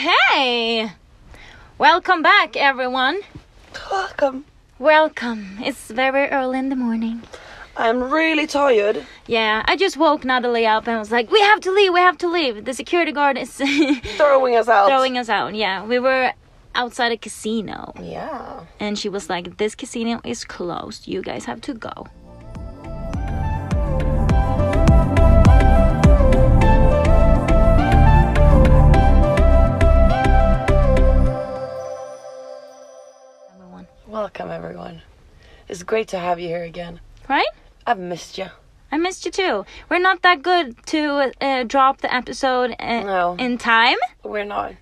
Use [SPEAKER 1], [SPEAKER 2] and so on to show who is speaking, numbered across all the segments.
[SPEAKER 1] Okay. Welcome back, everyone.
[SPEAKER 2] Welcome.
[SPEAKER 1] Welcome. It's very early in the morning.
[SPEAKER 2] I'm really tired.
[SPEAKER 1] Yeah, I just woke Natalie up and was like, we have to leave, we have to leave. The security guard is
[SPEAKER 2] Throwing us out.
[SPEAKER 1] throwing us out. Yeah, we were outside a casino
[SPEAKER 2] Yeah.
[SPEAKER 1] and she was like, this casino is closed. You guys have to go. Everyone,
[SPEAKER 2] Welcome, everyone. It's great to have you here again.
[SPEAKER 1] Right?
[SPEAKER 2] I've missed you.
[SPEAKER 1] I missed you too. We're not that good to uh, drop the episode uh,
[SPEAKER 2] No.
[SPEAKER 1] in time.
[SPEAKER 2] We're not.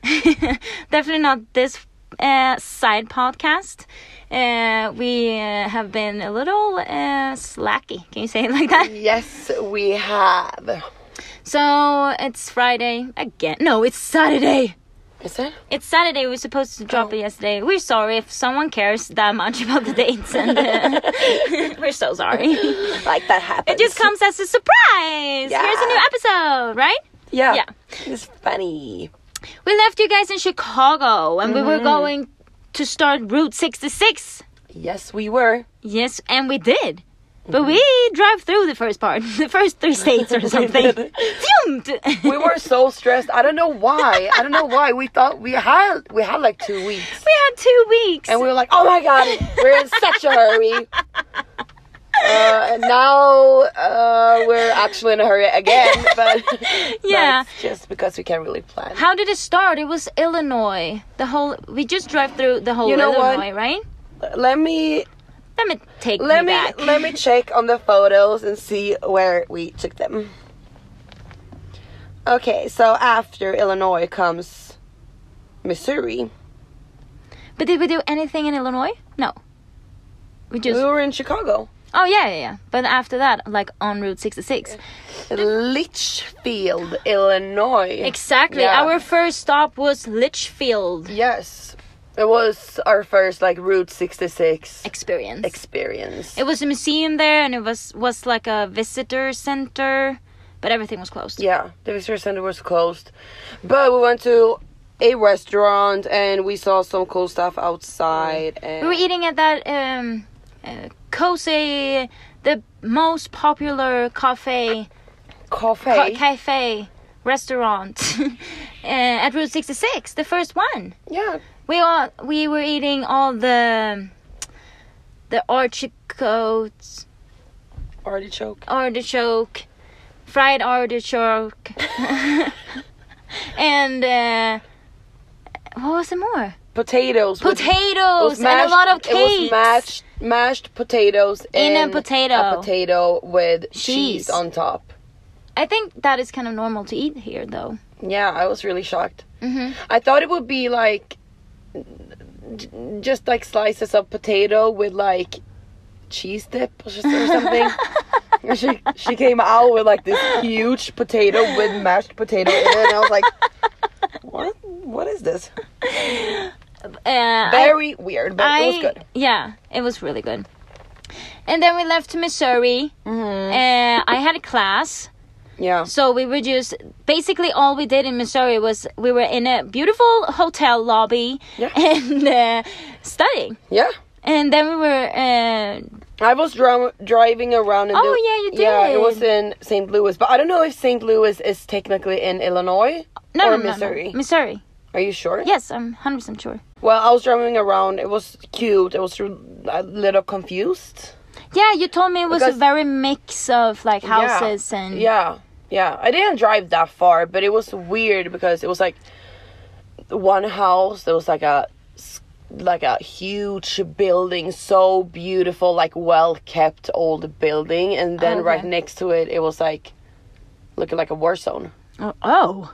[SPEAKER 1] Definitely not this uh, side podcast. Uh, we uh, have been a little uh, slacky. Can you say it like that?
[SPEAKER 2] yes, we have.
[SPEAKER 1] So it's Friday again. No, it's Saturday.
[SPEAKER 2] Is it?
[SPEAKER 1] It's Saturday. We were supposed to drop
[SPEAKER 2] Oh.
[SPEAKER 1] it yesterday. We're sorry if someone cares that much about the dates, and uh, we're so sorry.
[SPEAKER 2] Like that happens.
[SPEAKER 1] It just comes as a surprise. Here's a new
[SPEAKER 2] Yeah.
[SPEAKER 1] episode, right?
[SPEAKER 2] Yeah.
[SPEAKER 1] Yeah.
[SPEAKER 2] It's funny.
[SPEAKER 1] We left you guys in Chicago and we were
[SPEAKER 2] Mm-hmm.
[SPEAKER 1] going to start Route 66.
[SPEAKER 2] Yes, we were.
[SPEAKER 1] Yes, and we did. But
[SPEAKER 2] Mm-hmm.
[SPEAKER 1] we drive through the first part, the first three states or something.
[SPEAKER 2] did.
[SPEAKER 1] Phew.
[SPEAKER 2] We were so stressed. I don't know why. I don't know why. We thought we had we had like two weeks,
[SPEAKER 1] We had two weeks.
[SPEAKER 2] and we were like, "Oh my god, we're in such a hurry." Uh, and now uh, we're actually in a hurry again, but
[SPEAKER 1] Yeah.
[SPEAKER 2] that's just because we can't really plan.
[SPEAKER 1] How did it start? It was Illinois. The whole we just drive through the whole
[SPEAKER 2] You know what?
[SPEAKER 1] Illinois, right?
[SPEAKER 2] Let me
[SPEAKER 1] Let me take
[SPEAKER 2] let
[SPEAKER 1] me
[SPEAKER 2] me
[SPEAKER 1] back.
[SPEAKER 2] let me check on the photos and see where we took them. Okay, so after Illinois comes Missouri.
[SPEAKER 1] But did we do anything in Illinois? No. We just
[SPEAKER 2] We were in Chicago.
[SPEAKER 1] Oh yeah, yeah, yeah. But after that, like on Route 66.
[SPEAKER 2] Litchfield, Illinois.
[SPEAKER 1] Exactly.
[SPEAKER 2] Yeah.
[SPEAKER 1] Our first stop was Litchfield
[SPEAKER 2] yes, it was our first like Route 66
[SPEAKER 1] experience.
[SPEAKER 2] experience.
[SPEAKER 1] it was a museum there, and it was was like a visitor center, but everything was closed.
[SPEAKER 2] yeah, the visitor center was closed, but we went to a restaurant and we saw some cool stuff outside. And
[SPEAKER 1] We were eating at that um, uh, cozy, the most popular cafe ca-
[SPEAKER 2] coffee.
[SPEAKER 1] cafe restaurant uh, at Route 66, the first one.
[SPEAKER 2] yeah,
[SPEAKER 1] We all we were eating all the the artichokes.
[SPEAKER 2] artichoke.
[SPEAKER 1] artichoke, fried artichoke, and uh, what was it more?
[SPEAKER 2] Potatoes. with- it
[SPEAKER 1] Potatoes
[SPEAKER 2] was
[SPEAKER 1] and a lot of
[SPEAKER 2] It was
[SPEAKER 1] cakes.
[SPEAKER 2] mashed, mashed potatoes
[SPEAKER 1] In a
[SPEAKER 2] and
[SPEAKER 1] potato.
[SPEAKER 2] A potato with
[SPEAKER 1] Cheese.
[SPEAKER 2] cheese on top.
[SPEAKER 1] I think that is kind of normal to eat here, though.
[SPEAKER 2] Yeah, I was really shocked.
[SPEAKER 1] hmm
[SPEAKER 2] I thought it would be like j- just like slices of potato with like cheese dip or s- or something. And she she came out with like this huge potato with mashed potato in it, and I was like, what? What is this?
[SPEAKER 1] Uh,
[SPEAKER 2] Very weird, but it was good.
[SPEAKER 1] Yeah, it was really good. And then we left to Missouri.
[SPEAKER 2] Mm-hmm.
[SPEAKER 1] Uh, I had a class,
[SPEAKER 2] Yeah,
[SPEAKER 1] so we were just basically all we did in Missouri was we were in a beautiful hotel lobby
[SPEAKER 2] Yeah.
[SPEAKER 1] and uh, studying.
[SPEAKER 2] yeah.
[SPEAKER 1] And then we were, uh,
[SPEAKER 2] I was dri- driving around. In
[SPEAKER 1] Oh,
[SPEAKER 2] the-
[SPEAKER 1] yeah, you
[SPEAKER 2] Yeah, it
[SPEAKER 1] did.
[SPEAKER 2] was in St. Louis, but I don't know if St. Louis is technically in Illinois.
[SPEAKER 1] no,
[SPEAKER 2] Or
[SPEAKER 1] no, no, no,
[SPEAKER 2] Missouri.
[SPEAKER 1] Missouri.
[SPEAKER 2] Are you sure?
[SPEAKER 1] Yes, I'm 100% sure.
[SPEAKER 2] Well, I was driving around. It was cute. I was r- a little confused.
[SPEAKER 1] Yeah, you told me it was
[SPEAKER 2] Because-
[SPEAKER 1] a very mix of like
[SPEAKER 2] Yeah.
[SPEAKER 1] houses and.
[SPEAKER 2] Yeah, yeah. I didn't drive that far, but it was weird because it was like one house. There was like a s- like a huge building, so beautiful, like well kept old building, and then
[SPEAKER 1] Okay.
[SPEAKER 2] right next to it, it was like looking like a war zone.
[SPEAKER 1] Oh, Oh.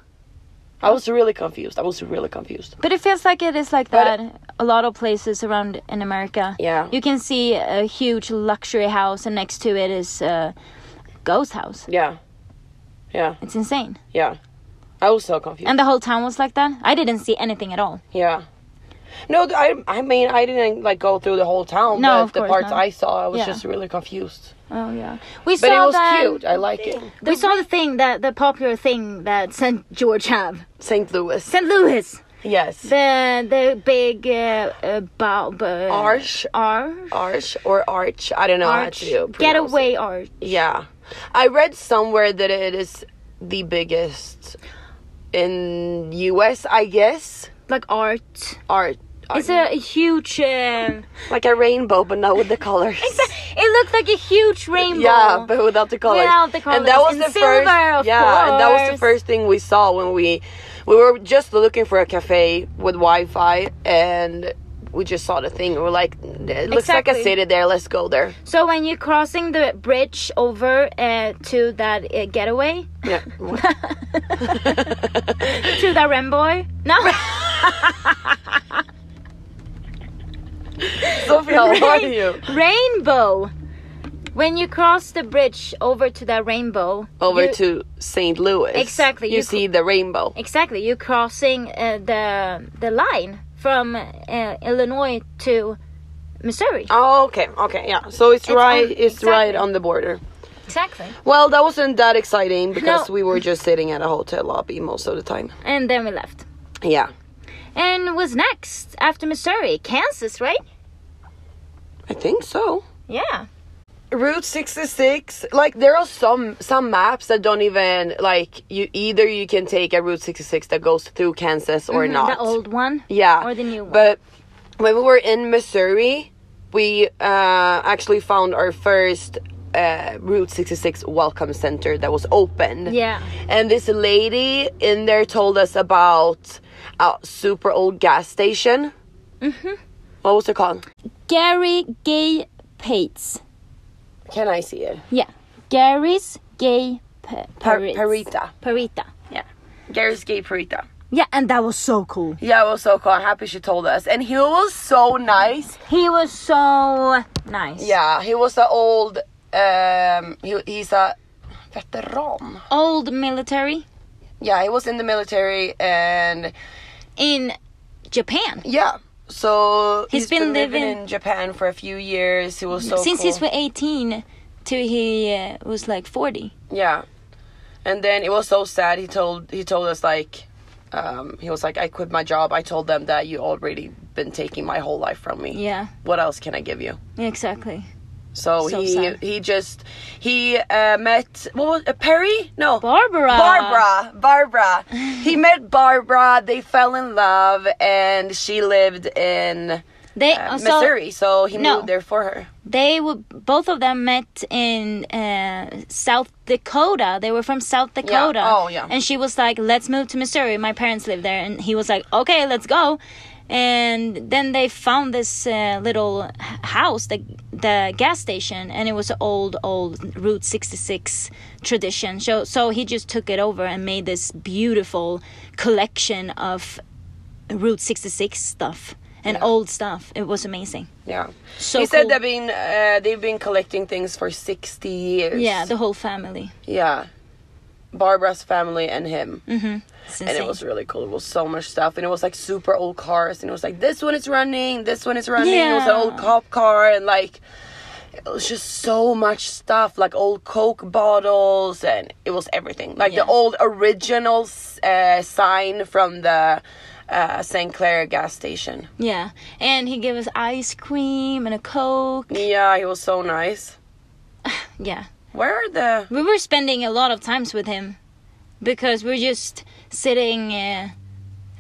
[SPEAKER 2] I was really confused. I was really confused.
[SPEAKER 1] But it feels like it is like
[SPEAKER 2] But-
[SPEAKER 1] that a lot of places around in America.
[SPEAKER 2] Yeah.
[SPEAKER 1] You can see a huge luxury house, and next to it is a ghost house.
[SPEAKER 2] Yeah, yeah,
[SPEAKER 1] It's insane.
[SPEAKER 2] yeah. I was so confused.
[SPEAKER 1] And the whole town was like that. I didn't see anything at all.
[SPEAKER 2] Yeah. No, th- I I mean I didn't like go through the whole town,
[SPEAKER 1] No, of
[SPEAKER 2] but the
[SPEAKER 1] course
[SPEAKER 2] parts
[SPEAKER 1] not.
[SPEAKER 2] I saw, I was
[SPEAKER 1] Yeah.
[SPEAKER 2] just really confused.
[SPEAKER 1] Oh yeah, we
[SPEAKER 2] But
[SPEAKER 1] saw
[SPEAKER 2] it was
[SPEAKER 1] the,
[SPEAKER 2] cute. I like it.
[SPEAKER 1] We saw the thing that the popular thing that St. George have
[SPEAKER 2] St. Louis.
[SPEAKER 1] St. Louis,
[SPEAKER 2] Yes.
[SPEAKER 1] the the big uh, uh, bulb uh,
[SPEAKER 2] Arch.
[SPEAKER 1] arch,
[SPEAKER 2] Arch or arch? I don't know
[SPEAKER 1] arch,
[SPEAKER 2] how to pronounce it.
[SPEAKER 1] getaway arch.
[SPEAKER 2] Yeah. I read somewhere that it is the biggest in US, I guess.
[SPEAKER 1] like art.
[SPEAKER 2] Art.
[SPEAKER 1] It's a, a huge. Um,
[SPEAKER 2] like a rainbow, but not with the colors.
[SPEAKER 1] it looked like a huge rainbow.
[SPEAKER 2] Yeah, but without the colors.
[SPEAKER 1] Without the
[SPEAKER 2] And that
[SPEAKER 1] colors.
[SPEAKER 2] was
[SPEAKER 1] In
[SPEAKER 2] the
[SPEAKER 1] silver,
[SPEAKER 2] first.
[SPEAKER 1] of
[SPEAKER 2] yeah, and that was the
[SPEAKER 1] course.
[SPEAKER 2] first thing we saw when we we were just looking for a cafe with Wi-Fi, and we just saw the thing. We We're like, it looks like
[SPEAKER 1] Exactly.
[SPEAKER 2] a city there. Let's go there.
[SPEAKER 1] So when you're crossing the bridge over uh, to that uh, getaway,
[SPEAKER 2] Yeah.
[SPEAKER 1] to that rainbow, no,
[SPEAKER 2] Sophia, how are you?
[SPEAKER 1] rainbow. When you cross the bridge over to that rainbow,
[SPEAKER 2] Over
[SPEAKER 1] you-
[SPEAKER 2] to St. Louis.
[SPEAKER 1] Exactly,
[SPEAKER 2] You,
[SPEAKER 1] you
[SPEAKER 2] see the rainbow.
[SPEAKER 1] exactly you're crossing uh, the the line from uh, Illinois to Missouri.
[SPEAKER 2] Oh, okay, okay, yeah. So it's,
[SPEAKER 1] It's
[SPEAKER 2] right,
[SPEAKER 1] on-
[SPEAKER 2] it's right
[SPEAKER 1] exactly.
[SPEAKER 2] on the border.
[SPEAKER 1] Exactly.
[SPEAKER 2] Well, that wasn't that exciting because
[SPEAKER 1] No.
[SPEAKER 2] we were just sitting at a hotel lobby most of the time.
[SPEAKER 1] And then we left.
[SPEAKER 2] Yeah,
[SPEAKER 1] And was next after Missouri, Kansas, right?
[SPEAKER 2] I think so.
[SPEAKER 1] Yeah.
[SPEAKER 2] Route 66, like there are some some maps that don't even like you either you can take a Route 66 that goes through Kansas or not.
[SPEAKER 1] Mm-hmm, The old one.
[SPEAKER 2] Yeah.
[SPEAKER 1] Or the new one.
[SPEAKER 2] But when we were in Missouri, we uh, actually found our first uh, Route 66 welcome center that was opened.
[SPEAKER 1] Yeah.
[SPEAKER 2] And this lady in there told us about a super old gas station. Mm-hmm. What was it called?
[SPEAKER 1] Gary Gay Pates.
[SPEAKER 2] Can I see it?
[SPEAKER 1] Yeah. Gary's Gay pa-
[SPEAKER 2] Par-
[SPEAKER 1] Paris.
[SPEAKER 2] Parita.
[SPEAKER 1] Parita. Yeah.
[SPEAKER 2] Gary's Gay Parita.
[SPEAKER 1] Yeah, and that was so cool.
[SPEAKER 2] Yeah, it was so cool. I'm happy she told us. And he was so nice.
[SPEAKER 1] He was so nice.
[SPEAKER 2] Yeah, he was an old, um, he, he's a veteran.
[SPEAKER 1] Old military
[SPEAKER 2] Yeah, he was in the military and
[SPEAKER 1] in Japan.
[SPEAKER 2] yeah. So
[SPEAKER 1] He's been living-
[SPEAKER 2] in Japan for a few years. He was so
[SPEAKER 1] Since
[SPEAKER 2] cool.
[SPEAKER 1] he's 18 till he uh, was like 40.
[SPEAKER 2] yeah. And then it was so sad. He told he told us like um, he was like I quit my job. I told them that you already been taking my whole life from me.
[SPEAKER 1] Yeah.
[SPEAKER 2] What else can I give you?
[SPEAKER 1] Exactly.
[SPEAKER 2] So,
[SPEAKER 1] So
[SPEAKER 2] he
[SPEAKER 1] sad.
[SPEAKER 2] he just he uh, met what was uh, Perry? No.
[SPEAKER 1] Barbara.
[SPEAKER 2] Barbara, Barbara. he met Barbara. They fell in love, and she lived in
[SPEAKER 1] They
[SPEAKER 2] uh,
[SPEAKER 1] Oh, so-
[SPEAKER 2] Missouri, so he
[SPEAKER 1] No.
[SPEAKER 2] moved there for her.
[SPEAKER 1] they were both of them met in uh, South Dakota. They were from South Dakota.
[SPEAKER 2] Oh, yeah.
[SPEAKER 1] And she was like, "Let's move to Missouri. My parents live there." And he was like, "Okay, let's go." And then they found this uh, little h- house, the the gas station, and it was an old old Route 66 tradition. So so he just took it over and made this beautiful collection of Route 66 stuff and
[SPEAKER 2] Yeah.
[SPEAKER 1] old stuff. It was amazing.
[SPEAKER 2] Yeah.
[SPEAKER 1] So
[SPEAKER 2] he said
[SPEAKER 1] cool.
[SPEAKER 2] they've been uh, they've been collecting things for sixty years.
[SPEAKER 1] Yeah, the whole family.
[SPEAKER 2] yeah. Barbara's family and him,
[SPEAKER 1] It's
[SPEAKER 2] and
[SPEAKER 1] insane.
[SPEAKER 2] it was really cool. It was so much stuff, and it was like super old cars, and it was like this one is running, this one is running. It was an
[SPEAKER 1] Yeah.
[SPEAKER 2] old cop car, and like it was just so much stuff, like old Coke bottles, and it was everything. Like the
[SPEAKER 1] Yeah.
[SPEAKER 2] old original uh, sign from the uh, Saint Clair gas station.
[SPEAKER 1] yeah, and he gave us ice cream and a coke.
[SPEAKER 2] Yeah, he was so nice.
[SPEAKER 1] Yeah,
[SPEAKER 2] Where are the
[SPEAKER 1] we were spending a lot of times with him because we're just sitting, uh,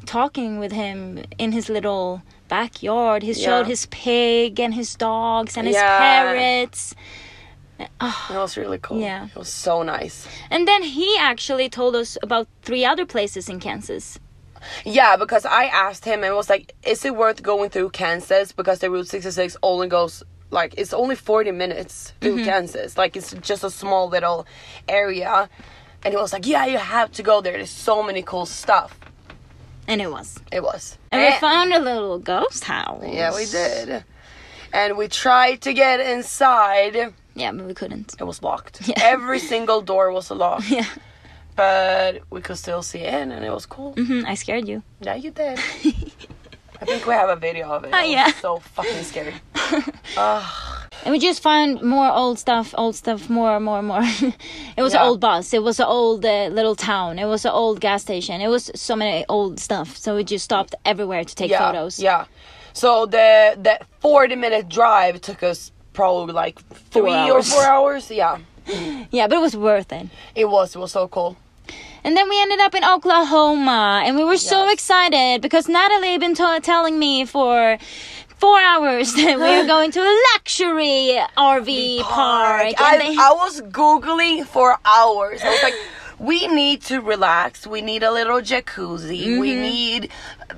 [SPEAKER 1] talking with him in his little backyard. He showed
[SPEAKER 2] Yeah.
[SPEAKER 1] his pig and his dogs and his
[SPEAKER 2] Yeah.
[SPEAKER 1] parrots.
[SPEAKER 2] That was really cool.
[SPEAKER 1] Yeah.
[SPEAKER 2] It was so nice.
[SPEAKER 1] And then he actually told us about three other places in Kansas.
[SPEAKER 2] Yeah, because I asked him and was like, is it worth going through Kansas? Because the Route 66 only goes, like, it's only 40 minutes through
[SPEAKER 1] Mm-hmm.
[SPEAKER 2] Kansas. Like, it's just a small little area. And he was like, yeah, you have to go there. There's so many cool stuff.
[SPEAKER 1] And it was.
[SPEAKER 2] It was.
[SPEAKER 1] And
[SPEAKER 2] Eh,
[SPEAKER 1] we found a little ghost house.
[SPEAKER 2] yeah, we did. And we tried to get inside. It
[SPEAKER 1] Yeah, but we couldn't.
[SPEAKER 2] was locked.
[SPEAKER 1] Yeah.
[SPEAKER 2] Every single door was locked.
[SPEAKER 1] Yeah. Mm-hmm.
[SPEAKER 2] But we could still see in, and it was cool.
[SPEAKER 1] hmm I scared you.
[SPEAKER 2] Yeah, you did. I think we have a video of it.
[SPEAKER 1] Oh,
[SPEAKER 2] It was
[SPEAKER 1] yeah.
[SPEAKER 2] So fucking scary. Ugh.
[SPEAKER 1] And we just found more old stuff, old stuff, more, more, more. it was an
[SPEAKER 2] Yeah.
[SPEAKER 1] old bus. It was an old uh, little town. It was an old gas station. It was so many old stuff. So we just stopped everywhere to take
[SPEAKER 2] yeah,
[SPEAKER 1] photos.
[SPEAKER 2] Yeah. So the that 40 minute drive took us probably like
[SPEAKER 1] Four
[SPEAKER 2] three
[SPEAKER 1] hours.
[SPEAKER 2] or four hours. Yeah.
[SPEAKER 1] Yeah, but it was worth it.
[SPEAKER 2] It was. It was so cool.
[SPEAKER 1] And then we ended up in Oklahoma, and we were so
[SPEAKER 2] Yes.
[SPEAKER 1] excited because Natalie had been t- telling me for four hours that we were going to a luxury RV park.
[SPEAKER 2] I,
[SPEAKER 1] and they-
[SPEAKER 2] I was googling for hours. I was like, we need to relax. We need a little jacuzzi. We need good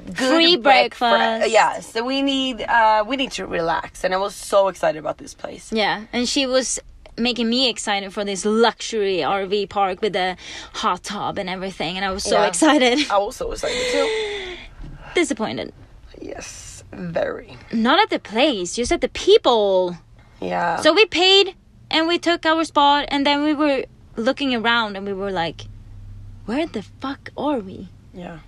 [SPEAKER 1] Mm-hmm. Free breakfast.
[SPEAKER 2] Yes, we need uh, we need to relax. And I was so excited about this place.
[SPEAKER 1] yeah, and she was making me excited for this luxury RV park with a hot tub and everything, and I was so
[SPEAKER 2] Yeah. Oh.
[SPEAKER 1] excited.
[SPEAKER 2] I was so excited too.
[SPEAKER 1] Disappointed.
[SPEAKER 2] Yes, very.
[SPEAKER 1] Not at the place, just at the people.
[SPEAKER 2] Yeah.
[SPEAKER 1] So we paid and we took our spot, and then we were looking around and we were like, where the fuck are we?
[SPEAKER 2] yeah.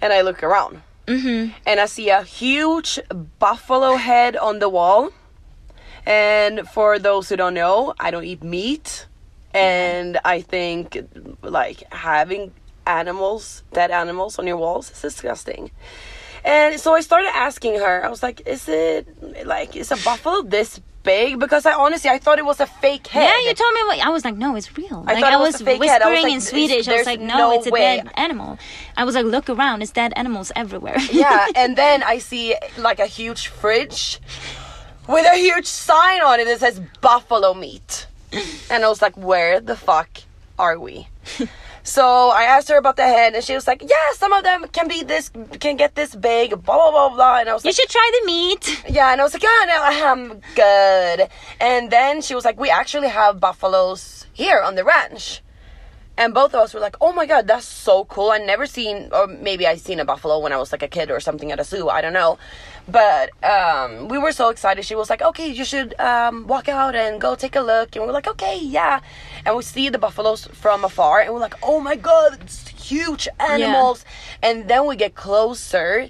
[SPEAKER 2] And I look around
[SPEAKER 1] Mm-hmm.
[SPEAKER 2] and I see a huge buffalo head on the wall. And for those who don't know, I don't eat meat. And I think like having animals, dead animals on your walls is disgusting. And so I started asking her. I was like, "Is it like is a buffalo this big?" Because I honestly I thought it was a fake head.
[SPEAKER 1] Yeah, you told me. What, I was like, no, it's real.
[SPEAKER 2] I
[SPEAKER 1] like
[SPEAKER 2] thought
[SPEAKER 1] I
[SPEAKER 2] it was
[SPEAKER 1] was
[SPEAKER 2] a fake
[SPEAKER 1] whispering
[SPEAKER 2] head. I was like,
[SPEAKER 1] in
[SPEAKER 2] this-
[SPEAKER 1] Swedish. I was
[SPEAKER 2] there's
[SPEAKER 1] like, no,
[SPEAKER 2] no
[SPEAKER 1] it's a
[SPEAKER 2] way.
[SPEAKER 1] dead animal. I was like, look around, it's dead animals everywhere.
[SPEAKER 2] yeah, and then I see like a huge fridge with a huge sign on it that says buffalo meat. And I was like, where the fuck are we? So I asked her about the head, and she was like, "Yeah, some of them can be this, can get this big, blah blah blah blah." And I was
[SPEAKER 1] you
[SPEAKER 2] like,
[SPEAKER 1] should try the meat.
[SPEAKER 2] "Yeah," and I was like, "Yeah, no, I'm good." And then she was like, "We actually have buffaloes here on the ranch," and both of us were like, "Oh my god, that's so cool! I never seen, or maybe I seen a buffalo when I was like a kid or something at a zoo. I don't know." But um, we were so excited. She was like, "Okay, you should um, walk out and go take a look." And we're like, "Okay, yeah." And we see the buffaloes from afar, and we're like, "Oh my god, it's huge animals!" And then we get closer,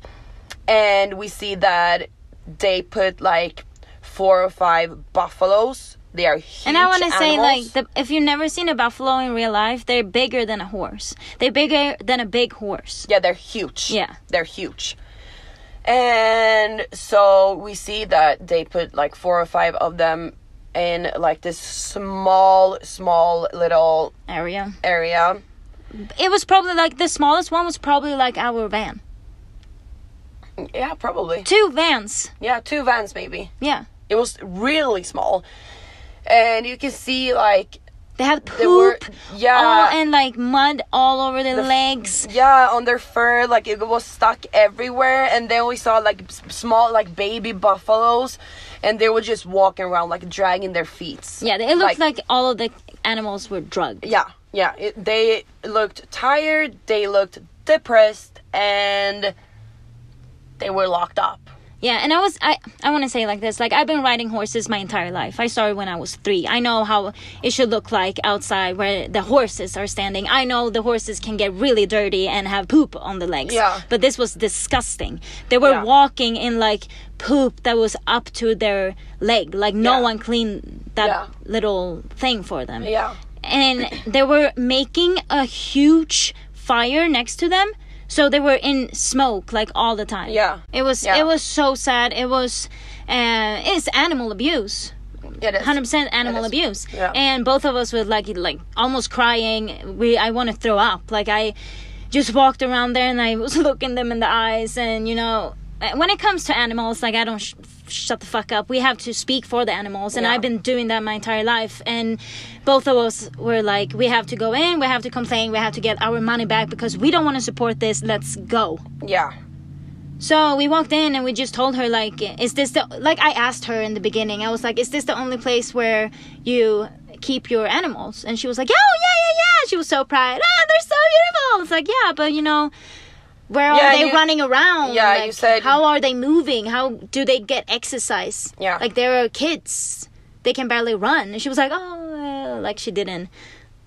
[SPEAKER 2] and we see that they put like four or five buffaloes. They are huge.
[SPEAKER 1] And I want to say,
[SPEAKER 2] animals.
[SPEAKER 1] like, the, if you've never seen a buffalo in real life, they're bigger than a horse. They're bigger than a big horse.
[SPEAKER 2] Yeah, they're huge.
[SPEAKER 1] Yeah.
[SPEAKER 2] They're huge. And so we see that they put like four or five of them in like this small, small little
[SPEAKER 1] Area.
[SPEAKER 2] area.
[SPEAKER 1] It was probably like the smallest one was probably like our van.
[SPEAKER 2] Yeah, probably.
[SPEAKER 1] Two vans.
[SPEAKER 2] Yeah, two vans maybe.
[SPEAKER 1] Yeah.
[SPEAKER 2] It was really small. And you can see like
[SPEAKER 1] They had
[SPEAKER 2] they were
[SPEAKER 1] poop all
[SPEAKER 2] yeah
[SPEAKER 1] and like mud all over their legs.
[SPEAKER 2] yeah on their fur like it was stuck everywhere and then we saw like s- small like baby buffaloes and they were just walking around like dragging their feet.
[SPEAKER 1] Yeah, they- it looked like, all of the animals were drugged.
[SPEAKER 2] Yeah, yeah. It, they looked tired, they looked depressed, and they were locked up.
[SPEAKER 1] Yeah, and I was I I want to say like this, like I've been riding horses my entire life. I started when I was 3. I know how it should look like outside where the horses are standing. I know the horses can get really dirty and have poop on the legs.
[SPEAKER 2] Yeah.
[SPEAKER 1] But this was disgusting. They were
[SPEAKER 2] Yeah.
[SPEAKER 1] walking in like poop that was up to their leg. Like no
[SPEAKER 2] Yeah.
[SPEAKER 1] one cleaned that
[SPEAKER 2] Yeah.
[SPEAKER 1] little thing for them.
[SPEAKER 2] Yeah.
[SPEAKER 1] and they were making a huge fire next to them so they were in smoke like all the time
[SPEAKER 2] Yeah.
[SPEAKER 1] it was
[SPEAKER 2] Yeah.
[SPEAKER 1] it was so sad it was uh it's animal abuse
[SPEAKER 2] It is.
[SPEAKER 1] 100% animal
[SPEAKER 2] It is.
[SPEAKER 1] abuse
[SPEAKER 2] Yeah.
[SPEAKER 1] and both of us were like like almost crying we i want to throw up like i just walked around there and i was looking them in the eyes and you know uh, when it comes to animals like i don't sh- shut the fuck up we have to speak for the animals and
[SPEAKER 2] Yeah.
[SPEAKER 1] i've been doing that my entire life and both of us were like we have to go in we have to complain we have to get our money back because we don't want to support this let's go
[SPEAKER 2] Yeah.
[SPEAKER 1] so we walked in and we just told her like, is this the like I asked her in the beginning. I was like, is this the only place where you keep your animals? And she was like, yeah, oh, yeah, yeah, yeah. She was so proud. Ah, they're so beautiful. I was like, yeah, but you know, where
[SPEAKER 2] Yeah,
[SPEAKER 1] are they
[SPEAKER 2] you-
[SPEAKER 1] running around?
[SPEAKER 2] yeah, you
[SPEAKER 1] Like,
[SPEAKER 2] said-
[SPEAKER 1] how are they moving? How do they get exercise?
[SPEAKER 2] Yeah.
[SPEAKER 1] like there are kids. They can barely run. And she was like, oh, well," like she didn't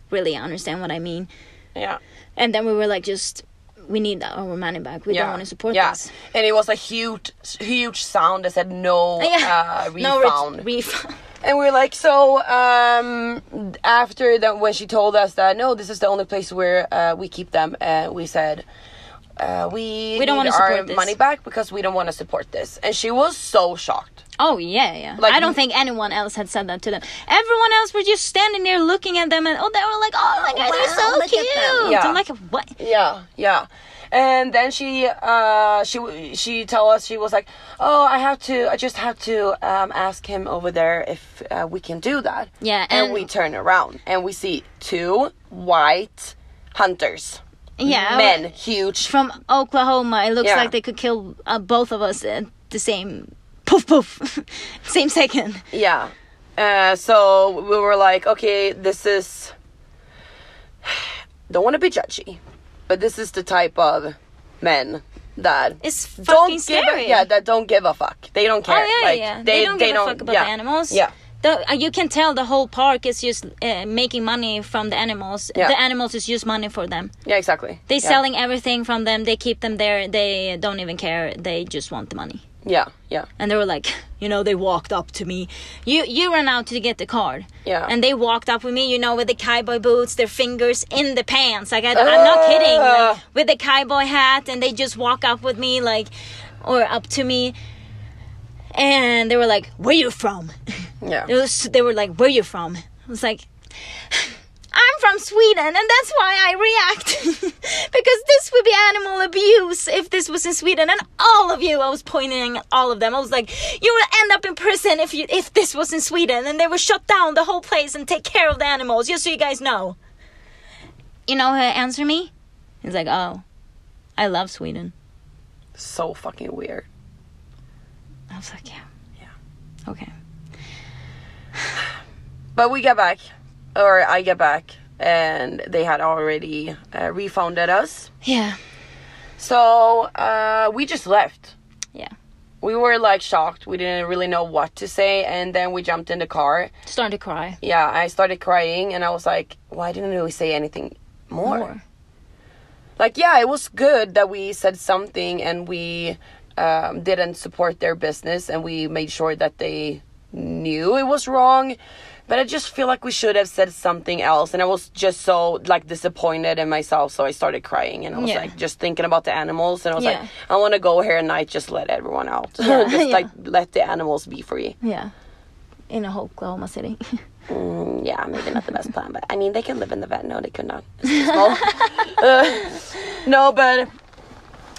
[SPEAKER 1] really understand what I mean.
[SPEAKER 2] Yeah.
[SPEAKER 1] And then we were like just we need our money back. We don't want to support
[SPEAKER 2] yeah.
[SPEAKER 1] this.
[SPEAKER 2] And it was a huge, huge sound that said no uh, refund.
[SPEAKER 1] No, it's refund.
[SPEAKER 2] And we were like, so um, after that, when she told us that no, this is the only place where uh, we keep them, uh, we said uh, we
[SPEAKER 1] We don't wanna
[SPEAKER 2] need our
[SPEAKER 1] support this.
[SPEAKER 2] money back because we don't want to support this. And she was so shocked.
[SPEAKER 1] Oh yeah, yeah.
[SPEAKER 2] Like-
[SPEAKER 1] I don't think anyone else had said that to them. Everyone else were just standing there looking at them, and oh, they were like, oh my god, they're
[SPEAKER 2] Wow,
[SPEAKER 1] so
[SPEAKER 2] look at
[SPEAKER 1] cute.
[SPEAKER 2] them. Yeah.
[SPEAKER 1] I'm like, what?
[SPEAKER 2] Yeah, yeah. And then she uh, she w- she told us she was like, oh, I have to, I just have to um, ask him over there if uh, we can do that.
[SPEAKER 1] Yeah,
[SPEAKER 2] And,
[SPEAKER 1] and-
[SPEAKER 2] we turn around and we see two white hunters,
[SPEAKER 1] Yeah,
[SPEAKER 2] men, huge
[SPEAKER 1] from Oklahoma. It looks
[SPEAKER 2] Yeah.
[SPEAKER 1] like they could kill uh, both of us at the same poof poof, same second.
[SPEAKER 2] Yeah. Uh, so we were like, okay, this is. Don't want to be judgy, but this is the type of men that
[SPEAKER 1] It's
[SPEAKER 2] don't
[SPEAKER 1] fucking
[SPEAKER 2] give.
[SPEAKER 1] scary.
[SPEAKER 2] A, yeah, that don't give a fuck. They don't
[SPEAKER 1] Oh
[SPEAKER 2] care.
[SPEAKER 1] yeah,
[SPEAKER 2] Like,
[SPEAKER 1] yeah. They, don't give a fuck about
[SPEAKER 2] yeah.
[SPEAKER 1] the animals.
[SPEAKER 2] Yeah.
[SPEAKER 1] The, uh, you can tell the whole park is just uh, making money from the animals.
[SPEAKER 2] Yeah.
[SPEAKER 1] The animals is just money for them.
[SPEAKER 2] Yeah. Exactly.
[SPEAKER 1] They
[SPEAKER 2] yeah.
[SPEAKER 1] selling everything from them. They keep them there. They don't even care. They just want the money.
[SPEAKER 2] Yeah. Yeah.
[SPEAKER 1] And they were like, you know, they walked up to me. You you ran out to get the card.
[SPEAKER 2] Yeah.
[SPEAKER 1] And they walked up with me, you know, with the cowboy boots, their fingers in the pants. Like I, I'm not kidding.
[SPEAKER 2] Ah.
[SPEAKER 1] Like with the cowboy hat, and they just walk up with me, like, or up to me. And they were like, "Where you from?"
[SPEAKER 2] Yeah.
[SPEAKER 1] It was, they were like, "Where you from?" I was like, "I'm from Sweden, and that's why I react because this would be animal abuse if this was in Sweden." And all of you, I was pointing at all of them. I was like, "You will end up in prison if you if this was in Sweden, and they would shut down the whole place and take care of the animals." Just so you guys know. You know, her answer me. He's like, "Oh, I love Sweden."
[SPEAKER 2] So fucking weird.
[SPEAKER 1] I was like, "Yeah, yeah, okay."
[SPEAKER 2] But we get back, or I get back, and they had already uh, refunded us.
[SPEAKER 1] Yeah,
[SPEAKER 2] So uh, we just left.
[SPEAKER 1] yeah.
[SPEAKER 2] we were like shocked. We didn't really know what to say, and then we jumped in the car.
[SPEAKER 1] Starting to cry.
[SPEAKER 2] Yeah, I started crying, and I was like, "Why didn't we say anything more?"
[SPEAKER 1] More.
[SPEAKER 2] Like, yeah, it was good that we said something, and we um, didn't support their business, and we made sure that they knew it was wrong. But I just feel like we should have said something else, and I was just so like disappointed in myself. So I started crying, and I was
[SPEAKER 1] Yeah.
[SPEAKER 2] like just thinking about the animals, and I was
[SPEAKER 1] Yeah.
[SPEAKER 2] like, I want to go here, and I just let everyone out, just
[SPEAKER 1] yeah.
[SPEAKER 2] like let the animals be free.
[SPEAKER 1] Yeah. In a Oklahoma City.
[SPEAKER 2] Mm, yeah, maybe not the best plan, but I mean, they could live in the vet. No, they could not. It's too small. Uh, no, but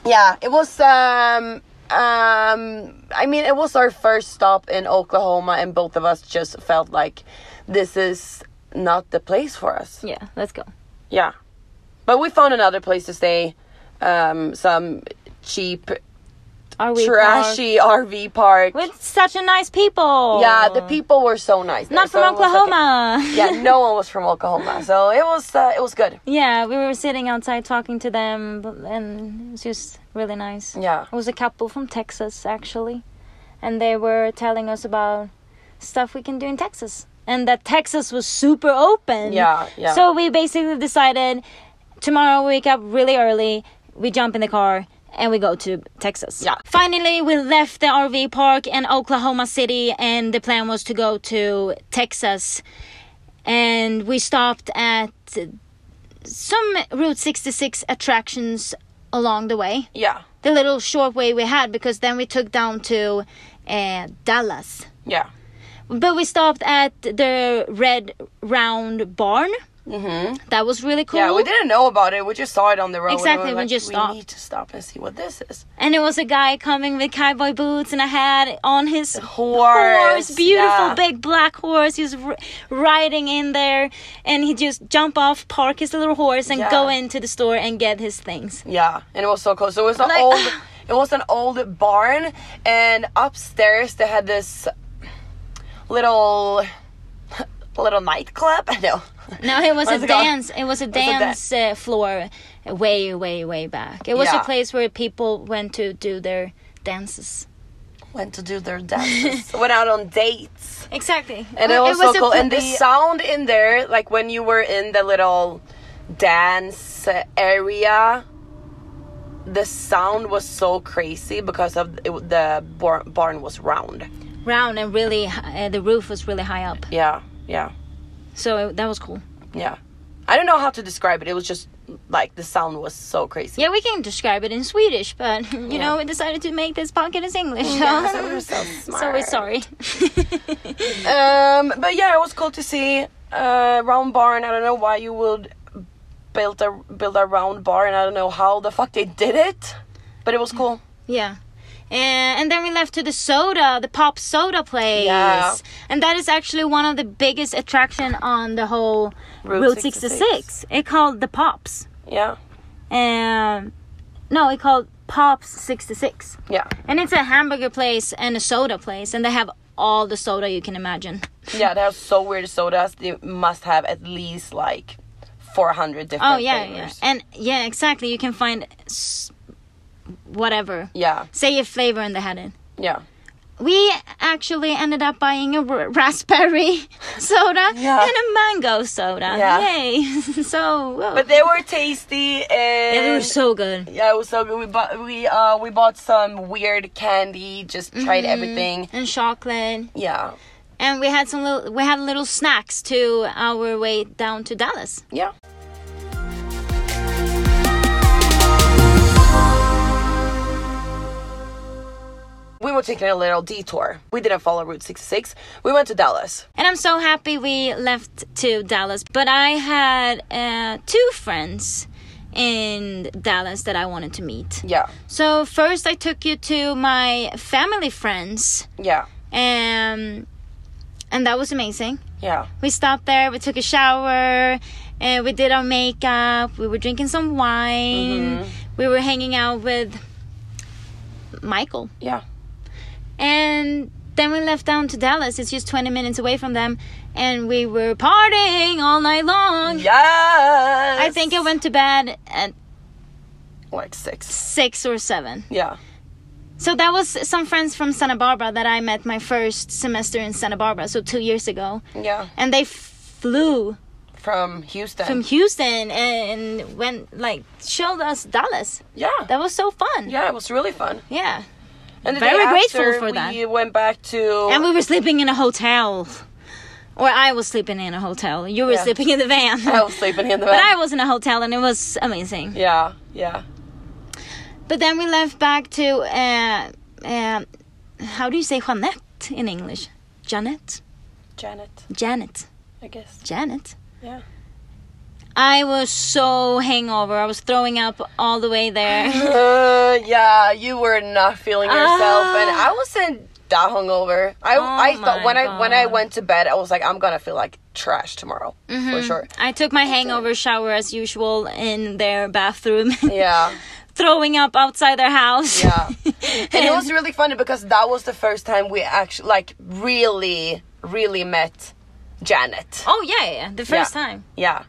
[SPEAKER 2] yeah, it was. Um, um, I mean, it was our first stop in Oklahoma, and both of us just felt like this is not the place for us.
[SPEAKER 1] yeah, let's go.
[SPEAKER 2] Yeah, but we found another place to stay. Um, some cheap,
[SPEAKER 1] Are we
[SPEAKER 2] trashy RV park.
[SPEAKER 1] With such a nice people.
[SPEAKER 2] Yeah, the people were so nice. there,
[SPEAKER 1] Oh. Not
[SPEAKER 2] so
[SPEAKER 1] from
[SPEAKER 2] it was like-
[SPEAKER 1] Oklahoma.
[SPEAKER 2] yeah, no one was from Oklahoma, so it was uh, it was good.
[SPEAKER 1] Yeah, we were sitting outside talking to them, but- and it was just really nice.
[SPEAKER 2] Yeah.
[SPEAKER 1] It was a couple from Texas, actually. And they were telling us about stuff we can do in Texas. And that Texas was super open.
[SPEAKER 2] Yeah, yeah.
[SPEAKER 1] So we basically decided tomorrow we wake up really early, we jump in the car, and we go to Texas.
[SPEAKER 2] Yeah.
[SPEAKER 1] Finally, we left the RV park in Oklahoma City, and the plan was to go to Texas. And we stopped at some Route 66 attractions along the way.
[SPEAKER 2] Yeah,
[SPEAKER 1] The little short way we had because then we took down to uh, Dallas.
[SPEAKER 2] yeah,
[SPEAKER 1] But we stopped at the Red Round Barn. Mm-hmm. That was really cool.
[SPEAKER 2] yeah. We didn't know about it. We just saw it on the road. and
[SPEAKER 1] Exactly,
[SPEAKER 2] We, were
[SPEAKER 1] we
[SPEAKER 2] like,
[SPEAKER 1] just
[SPEAKER 2] we
[SPEAKER 1] stopped.
[SPEAKER 2] need to stop and see what this is.
[SPEAKER 1] And there was a guy coming with cowboy boots and a hat on his
[SPEAKER 2] Horse,
[SPEAKER 1] beautiful
[SPEAKER 2] yeah.
[SPEAKER 1] big black horse. He was r- riding in there, and he just jump off, park his little horse, and
[SPEAKER 2] Yeah.
[SPEAKER 1] go into the store and get his things.
[SPEAKER 2] Yeah, and it was so cool. So it was an
[SPEAKER 1] Like-
[SPEAKER 2] old, it was an old barn, and upstairs they had this little, little nightclub. I know.
[SPEAKER 1] No, it was a
[SPEAKER 2] Where's it gone?
[SPEAKER 1] dance. It was a
[SPEAKER 2] a da-
[SPEAKER 1] dance uh, floor, way, way, way back. It was
[SPEAKER 2] Yeah.
[SPEAKER 1] a place where people went to do their dances.
[SPEAKER 2] Went to do their dances. Went out on dates.
[SPEAKER 1] Exactly,
[SPEAKER 2] And it was, so
[SPEAKER 1] a
[SPEAKER 2] cool. and the
[SPEAKER 1] pla-
[SPEAKER 2] sound in there, like when you were in the little dance area, the sound was so crazy because of it, the bar- barn was round.
[SPEAKER 1] round and really hi- uh, the roof was really high up.
[SPEAKER 2] Yeah, yeah,
[SPEAKER 1] So it, that was cool.
[SPEAKER 2] yeah. I don't know how to describe it. It was just like the sound was so crazy.
[SPEAKER 1] Yeah, we can describe it in Swedish, but you know, we decided to make this podcast in English. so-
[SPEAKER 2] so we're so
[SPEAKER 1] so we're
[SPEAKER 2] smart.
[SPEAKER 1] sorry.
[SPEAKER 2] Um, but yeah, it was cool to see uh, round barn. I don't know why you would build a build a round barn. I don't know how the fuck they did it, but it was cool.
[SPEAKER 1] yeah. And, and then we left to the soda, the pop soda place.
[SPEAKER 2] Yeah.
[SPEAKER 1] And that is actually one of the biggest attraction on the whole
[SPEAKER 2] Route
[SPEAKER 1] Route,
[SPEAKER 2] 66.
[SPEAKER 1] 66. It called the Pops.
[SPEAKER 2] Yeah,
[SPEAKER 1] Um, no, it called Pops 66.
[SPEAKER 2] yeah,
[SPEAKER 1] And it's a hamburger place and a soda place, and they have all the soda you can imagine.
[SPEAKER 2] yeah. They have so weird sodas. They must have at least like four hundred different.
[SPEAKER 1] Oh yeah, yeah,
[SPEAKER 2] flavors.
[SPEAKER 1] and yeah, exactly. You can find s- whatever.
[SPEAKER 2] yeah,
[SPEAKER 1] Say a flavor, and they had it.
[SPEAKER 2] yeah.
[SPEAKER 1] We actually ended up buying a r- raspberry soda
[SPEAKER 2] Yeah.
[SPEAKER 1] and a mango soda.
[SPEAKER 2] Yeah.
[SPEAKER 1] Yay! so, whoa.
[SPEAKER 2] But they were tasty and
[SPEAKER 1] they were so good.
[SPEAKER 2] yeah, it was so good. We bought we uh we bought some weird candy. Just tried everything.
[SPEAKER 1] And chocolate,
[SPEAKER 2] Yeah,
[SPEAKER 1] and we had some little. We had little snacks to our way down to Dallas.
[SPEAKER 2] yeah. We were taking a little detour. We didn't follow Route 66. We went to Dallas.
[SPEAKER 1] And I'm so happy we left to Dallas. But I had uh, two friends in Dallas that I wanted to meet.
[SPEAKER 2] Yeah,
[SPEAKER 1] So first, I took you to my family friends,
[SPEAKER 2] yeah,
[SPEAKER 1] um, and that was amazing.
[SPEAKER 2] yeah,
[SPEAKER 1] We stopped there, we took a shower, and we did our makeup. We were drinking some wine. We were hanging out with Michael,
[SPEAKER 2] yeah.
[SPEAKER 1] and then we left down to Dallas. It's just 20 minutes away from them, and we were partying all night long.
[SPEAKER 2] Yes!
[SPEAKER 1] I think I went to bed at
[SPEAKER 2] Like six.
[SPEAKER 1] six or seven.
[SPEAKER 2] Yeah,
[SPEAKER 1] So that was some friends from Santa Barbara that I met my first semester in Santa Barbara, so two years ago,
[SPEAKER 2] yeah.
[SPEAKER 1] and they flew
[SPEAKER 2] From Houston.
[SPEAKER 1] from Houston and went like showed us Dallas.
[SPEAKER 2] yeah.
[SPEAKER 1] That was so fun.
[SPEAKER 2] yeah, it was really fun.
[SPEAKER 1] Yeah.
[SPEAKER 2] And the
[SPEAKER 1] Very
[SPEAKER 2] day
[SPEAKER 1] grateful
[SPEAKER 2] after,
[SPEAKER 1] for that.
[SPEAKER 2] We went back to.
[SPEAKER 1] And we were sleeping in a hotel, or I was sleeping in a hotel. You were
[SPEAKER 2] Yeah.
[SPEAKER 1] sleeping in the van.
[SPEAKER 2] I was sleeping in the
[SPEAKER 1] But
[SPEAKER 2] van.
[SPEAKER 1] I was in a hotel and it was amazing.
[SPEAKER 2] Yeah, yeah.
[SPEAKER 1] But then we left back to, uh, uh, how do you say Jeanette in English? Janet?
[SPEAKER 2] Janet,
[SPEAKER 1] Janet.
[SPEAKER 2] I guess.
[SPEAKER 1] Janet.
[SPEAKER 2] Yeah.
[SPEAKER 1] I was so hangover. I was throwing up all the way there.
[SPEAKER 2] Uh, yeah, you were not feeling yourself, and
[SPEAKER 1] Ah.
[SPEAKER 2] I wasn't that hungover. I
[SPEAKER 1] Oh
[SPEAKER 2] I thought
[SPEAKER 1] my
[SPEAKER 2] when I when I
[SPEAKER 1] God.
[SPEAKER 2] went to bed, I was like, I'm gonna feel like trash tomorrow for
[SPEAKER 1] Mm-hmm.
[SPEAKER 2] sure.
[SPEAKER 1] I took my hangover shower as usual in their bathroom,
[SPEAKER 2] Yeah,
[SPEAKER 1] throwing up outside their house.
[SPEAKER 2] yeah. and, it
[SPEAKER 1] And-
[SPEAKER 2] was really funny because that was the first time we actually like really really met Janet.
[SPEAKER 1] Oh yeah, yeah, yeah. The first
[SPEAKER 2] Yeah.
[SPEAKER 1] time.
[SPEAKER 2] Yeah.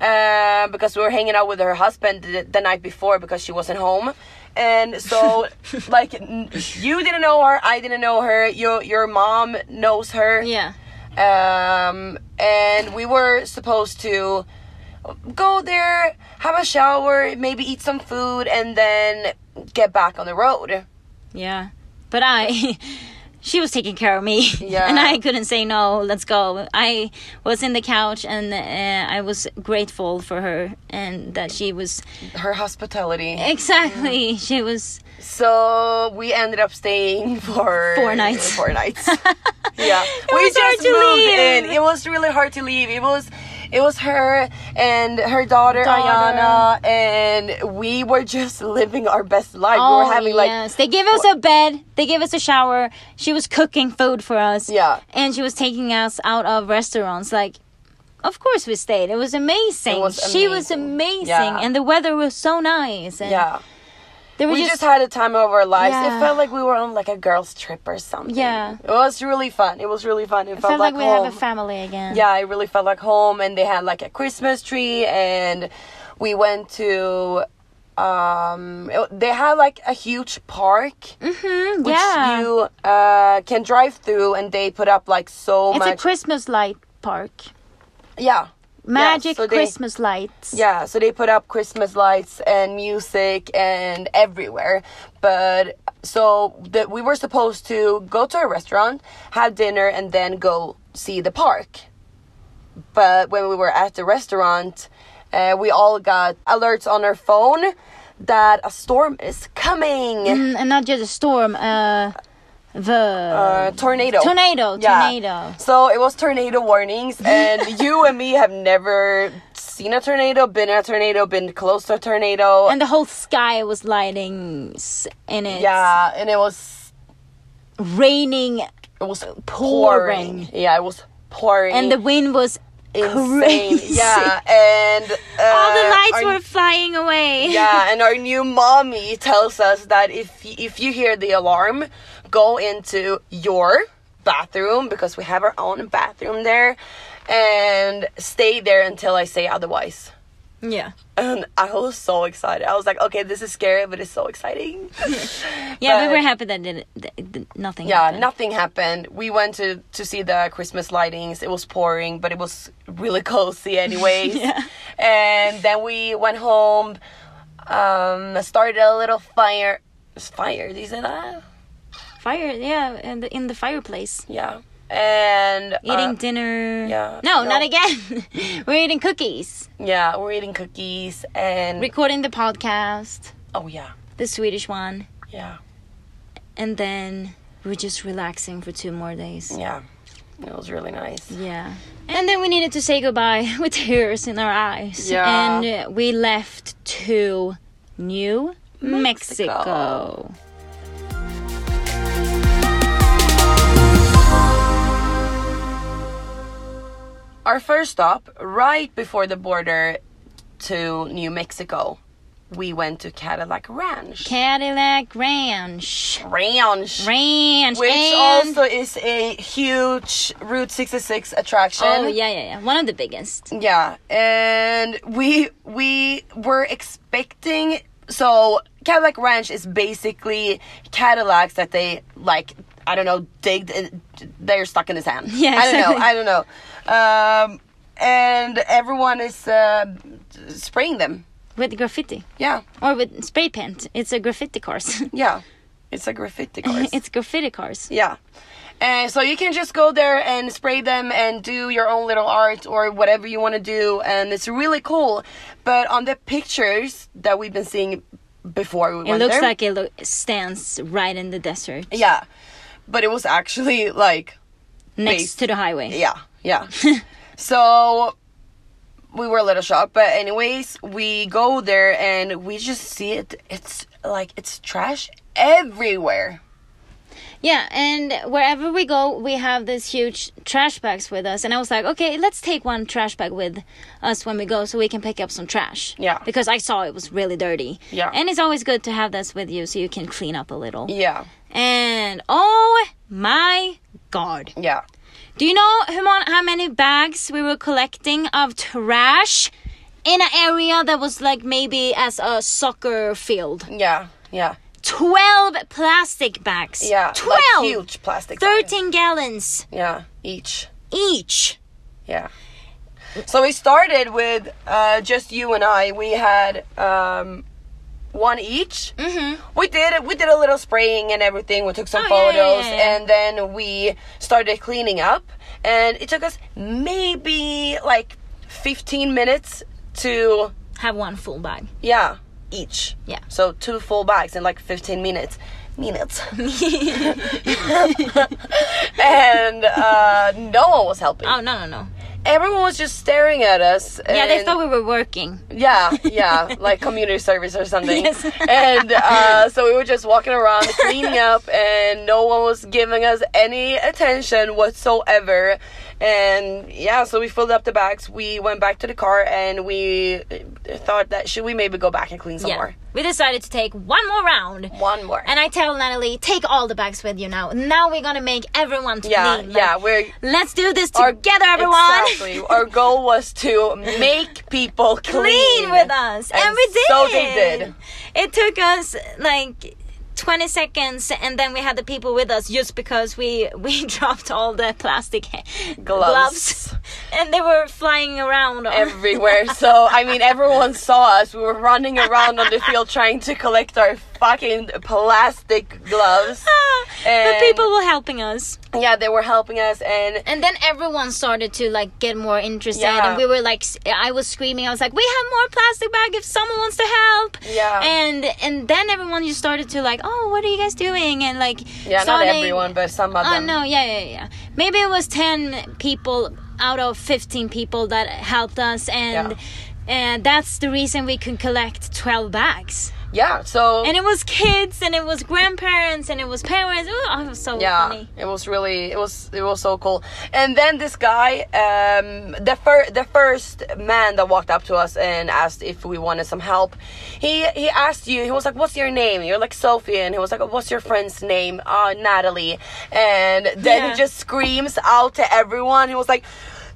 [SPEAKER 2] Uh, because we were hanging out with her husband the, the night before because she wasn't home, and so like n- you didn't know her, I didn't know her. Your your mom knows her.
[SPEAKER 1] Yeah.
[SPEAKER 2] Um, and we were supposed to go there, have a shower, maybe eat some food, and then get back on the road.
[SPEAKER 1] Yeah. But I she was taking care of me.
[SPEAKER 2] Yeah.
[SPEAKER 1] And I couldn't say no, let's go. I was in the couch and uh, I was grateful for her and that she was
[SPEAKER 2] Her hospitality.
[SPEAKER 1] exactly she was
[SPEAKER 2] So we ended up staying for
[SPEAKER 1] Four nights.
[SPEAKER 2] Four nights. yeah, we
[SPEAKER 1] was hard
[SPEAKER 2] just
[SPEAKER 1] to
[SPEAKER 2] moved
[SPEAKER 1] leave.
[SPEAKER 2] in. It was really hard to leave. It was, it was her and her daughter,
[SPEAKER 1] Daughter.
[SPEAKER 2] Ayana, and we were just living our best life. we were having like
[SPEAKER 1] Oh, yes. they gave us a bed, they gave us a shower. She was cooking food for us.
[SPEAKER 2] Yeah.
[SPEAKER 1] and she was taking us out of restaurants. Like, of course we stayed. It was amazing.
[SPEAKER 2] It was
[SPEAKER 1] She was
[SPEAKER 2] amazing.
[SPEAKER 1] amazing,
[SPEAKER 2] Yeah.
[SPEAKER 1] and the weather was so nice. And
[SPEAKER 2] yeah.
[SPEAKER 1] they were
[SPEAKER 2] we
[SPEAKER 1] just,
[SPEAKER 2] just, had a time of our lives. It
[SPEAKER 1] Yeah.
[SPEAKER 2] felt like we were on like a girls' trip or something.
[SPEAKER 1] Yeah.
[SPEAKER 2] it was really fun. It was really fun. It,
[SPEAKER 1] felt, like, we
[SPEAKER 2] home.
[SPEAKER 1] have a family again.
[SPEAKER 2] yeah, it really felt like home. And they had like a Christmas tree, and we went to. Um, it- they had like a huge park
[SPEAKER 1] Mhm,
[SPEAKER 2] which
[SPEAKER 1] yeah.
[SPEAKER 2] you uh can drive through, and they put up like so
[SPEAKER 1] it's a
[SPEAKER 2] much.
[SPEAKER 1] Christmas light park.
[SPEAKER 2] yeah,
[SPEAKER 1] Magic
[SPEAKER 2] so they-
[SPEAKER 1] Christmas lights.
[SPEAKER 2] Yeah, so they put up Christmas lights and music and everywhere. But so that we were supposed to go to a restaurant, have dinner, and then go see the park. But when we were at the restaurant, uh, we all got alerts on our phone that a storm is coming.
[SPEAKER 1] Mm, and not just a storm. Uh, the
[SPEAKER 2] Uh, tornado.
[SPEAKER 1] Tornado, tornado.
[SPEAKER 2] So it was tornado warnings, and you and me have never seen a tornado, been in a tornado, been close to a tornado.
[SPEAKER 1] and the whole sky was lighting s- and it's
[SPEAKER 2] yeah, and it was
[SPEAKER 1] raining
[SPEAKER 2] it was pouring.
[SPEAKER 1] Pouring.
[SPEAKER 2] Yeah, it was pouring.
[SPEAKER 1] and the wind was
[SPEAKER 2] insane.
[SPEAKER 1] crazy.
[SPEAKER 2] Yeah, and uh,
[SPEAKER 1] all the lights
[SPEAKER 2] our-
[SPEAKER 1] were flying away.
[SPEAKER 2] yeah, and our new mommy tells us that if y- if you hear the alarm, go into your bathroom because we have our own bathroom there, and stay there until I say otherwise.
[SPEAKER 1] yeah.
[SPEAKER 2] And I was so excited. I was like, okay, this is scary, but it's so exciting.
[SPEAKER 1] Yeah,
[SPEAKER 2] But-
[SPEAKER 1] we were happy that, it, that, that nothing
[SPEAKER 2] Yeah,
[SPEAKER 1] happened.
[SPEAKER 2] nothing happened. We went to to see the Christmas lightings. It was pouring, but it was really cozy anyways.
[SPEAKER 1] Yeah.
[SPEAKER 2] And then we went home, um, started a little fire. Fire, do you say that?
[SPEAKER 1] Fire, yeah, in the, in the fireplace.
[SPEAKER 2] Yeah. And uh,
[SPEAKER 1] Eating dinner.
[SPEAKER 2] yeah,
[SPEAKER 1] No,
[SPEAKER 2] no.
[SPEAKER 1] not again. we're eating cookies.
[SPEAKER 2] yeah, we're eating cookies and
[SPEAKER 1] Recording the podcast,
[SPEAKER 2] oh yeah,
[SPEAKER 1] the Swedish one.
[SPEAKER 2] yeah,
[SPEAKER 1] And then we're just relaxing for two more days.
[SPEAKER 2] yeah. It was really nice.
[SPEAKER 1] Yeah. And then we needed to say goodbye with tears in our eyes.
[SPEAKER 2] Yeah.
[SPEAKER 1] And uh, we left to New Mexico.
[SPEAKER 2] Mexico. Our first stop, right before the border to New Mexico, we went to Cadillac Ranch.
[SPEAKER 1] Cadillac Ranch.
[SPEAKER 2] Ranch.
[SPEAKER 1] Ranch.
[SPEAKER 2] Which
[SPEAKER 1] and-
[SPEAKER 2] also is a huge Route 66 attraction.
[SPEAKER 1] Oh, yeah, yeah, yeah. One of the biggest.
[SPEAKER 2] Yeah, and we we were expecting so Cadillac Ranch is basically Cadillacs that they like I don't know digged and they're stuck in the sand.
[SPEAKER 1] Yeah, exactly.
[SPEAKER 2] I don't know. I don't know. Um, and everyone is uh, spraying them.
[SPEAKER 1] With graffiti.
[SPEAKER 2] Yeah,
[SPEAKER 1] Or with spray paint. It's a graffiti cars.
[SPEAKER 2] yeah. It's a graffiti course.
[SPEAKER 1] it's graffiti cars.
[SPEAKER 2] Yeah. And so you can just go there and spray them and do your own little art or whatever you want to do. And it's really cool. But on the pictures that we've been seeing before we
[SPEAKER 1] It
[SPEAKER 2] went
[SPEAKER 1] looks
[SPEAKER 2] there-
[SPEAKER 1] like it lo- stands right in the desert.
[SPEAKER 2] Yeah. But it was actually like,
[SPEAKER 1] Next
[SPEAKER 2] base.
[SPEAKER 1] to the highway.
[SPEAKER 2] yeah, yeah. so we were a little shocked. But, anyways, we go there and we just see it. It's like, it's trash everywhere.
[SPEAKER 1] Yeah, and wherever we go, we have these huge trash bags with us. And I was like, okay, let's take one trash bag with us when we go so we can pick up some trash.
[SPEAKER 2] Yeah.
[SPEAKER 1] Because I saw it was really dirty.
[SPEAKER 2] Yeah.
[SPEAKER 1] And it's always good to have this with you so you can clean up a little.
[SPEAKER 2] Yeah,
[SPEAKER 1] And oh my god.
[SPEAKER 2] yeah.
[SPEAKER 1] Do you know hur mon- how many bags we were collecting of trash in an area that was like maybe as a soccer field?
[SPEAKER 2] Yeah, yeah,
[SPEAKER 1] 12 plastic bags.
[SPEAKER 2] yeah.
[SPEAKER 1] 12.
[SPEAKER 2] Like huge plastic. bags.
[SPEAKER 1] 13 gallons
[SPEAKER 2] Yeah, each.
[SPEAKER 1] each.
[SPEAKER 2] Yeah. So we started with uh, just you and I. We had um, one each.
[SPEAKER 1] Mm-hmm.
[SPEAKER 2] We did we did a little spraying and everything. We took some
[SPEAKER 1] Oh, yeah, yeah,
[SPEAKER 2] photos
[SPEAKER 1] yeah, yeah.
[SPEAKER 2] and then we started cleaning up. And it took us maybe like 15 minutes to
[SPEAKER 1] Have one full bag.
[SPEAKER 2] yeah each.
[SPEAKER 1] Yeah.
[SPEAKER 2] So two full bags in like 15 minutes. Minutes. and uh, no one was helping.
[SPEAKER 1] Oh, no, no, no. Uh,
[SPEAKER 2] Everyone was just staring at us.
[SPEAKER 1] Yeah, they
[SPEAKER 2] and-
[SPEAKER 1] thought we were working.
[SPEAKER 2] Yeah, yeah, like community service or something.
[SPEAKER 1] Yes.
[SPEAKER 2] And uh, so we were just walking around cleaning up, and no one was giving us any attention whatsoever. And yeah, so we filled up the bags. We went back to the car, and we uh, thought that should we maybe go back and clean some
[SPEAKER 1] Yeah.
[SPEAKER 2] more?
[SPEAKER 1] We decided to take one more round.
[SPEAKER 2] One more.
[SPEAKER 1] And I tell Natalie, take all the bags with you now. Now we're gonna make everyone clean.
[SPEAKER 2] yeah,
[SPEAKER 1] Like,
[SPEAKER 2] yeah, we're
[SPEAKER 1] Let's do this
[SPEAKER 2] our-
[SPEAKER 1] together, everyone.
[SPEAKER 2] Exactly. Our goal was to make people clean,
[SPEAKER 1] clean with us, and,
[SPEAKER 2] And
[SPEAKER 1] we did.
[SPEAKER 2] so they did.
[SPEAKER 1] It took us like. 20 seconds and then we had the people with us just because we we dropped all the plastic gloves, gloves and they were flying around on-
[SPEAKER 2] everywhere. So I mean, everyone saw us. We were running around on the field trying to collect our fucking plastic gloves.
[SPEAKER 1] but
[SPEAKER 2] And-
[SPEAKER 1] people were helping us
[SPEAKER 2] Yeah, they were helping us, and
[SPEAKER 1] and then everyone started to like get more interested
[SPEAKER 2] Yeah.
[SPEAKER 1] and we were like s- i was screaming i was like we have more plastic bag if someone wants to help
[SPEAKER 2] Yeah.
[SPEAKER 1] and and then everyone just started to like oh what are you guys doing and like
[SPEAKER 2] yeah, not
[SPEAKER 1] starting-
[SPEAKER 2] everyone, but some of
[SPEAKER 1] oh
[SPEAKER 2] them.
[SPEAKER 1] no yeah yeah yeah maybe it was 10 people out of 15 people that helped us and and that's the reason we could collect 12 bags
[SPEAKER 2] Yeah, so
[SPEAKER 1] and it was kids and it was grandparents and it was parents Ooh, oh, it was so
[SPEAKER 2] yeah,
[SPEAKER 1] funny
[SPEAKER 2] it was really it was it was so cool. And then this guy, um, the fir- the first man that walked up to us and asked if we wanted some help, he he asked you. He was like, "What's your name?" You're like Sophie, and he was like, "What's your friend's name?" Uh, Natalie. And then
[SPEAKER 1] Yeah.
[SPEAKER 2] he just screams out to everyone. He was like.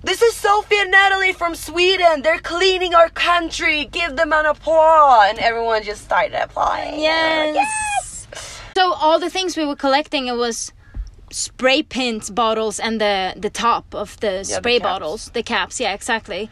[SPEAKER 2] This is Sophie and Natalie from Sweden. They're cleaning our country. Give them an applause. And everyone just started applauding.
[SPEAKER 1] Yes.
[SPEAKER 2] Yes.
[SPEAKER 1] So all the things we were collecting it was spray paint bottles and the the top of the
[SPEAKER 2] the
[SPEAKER 1] spray
[SPEAKER 2] caps.
[SPEAKER 1] bottles, the caps. Yeah, exactly.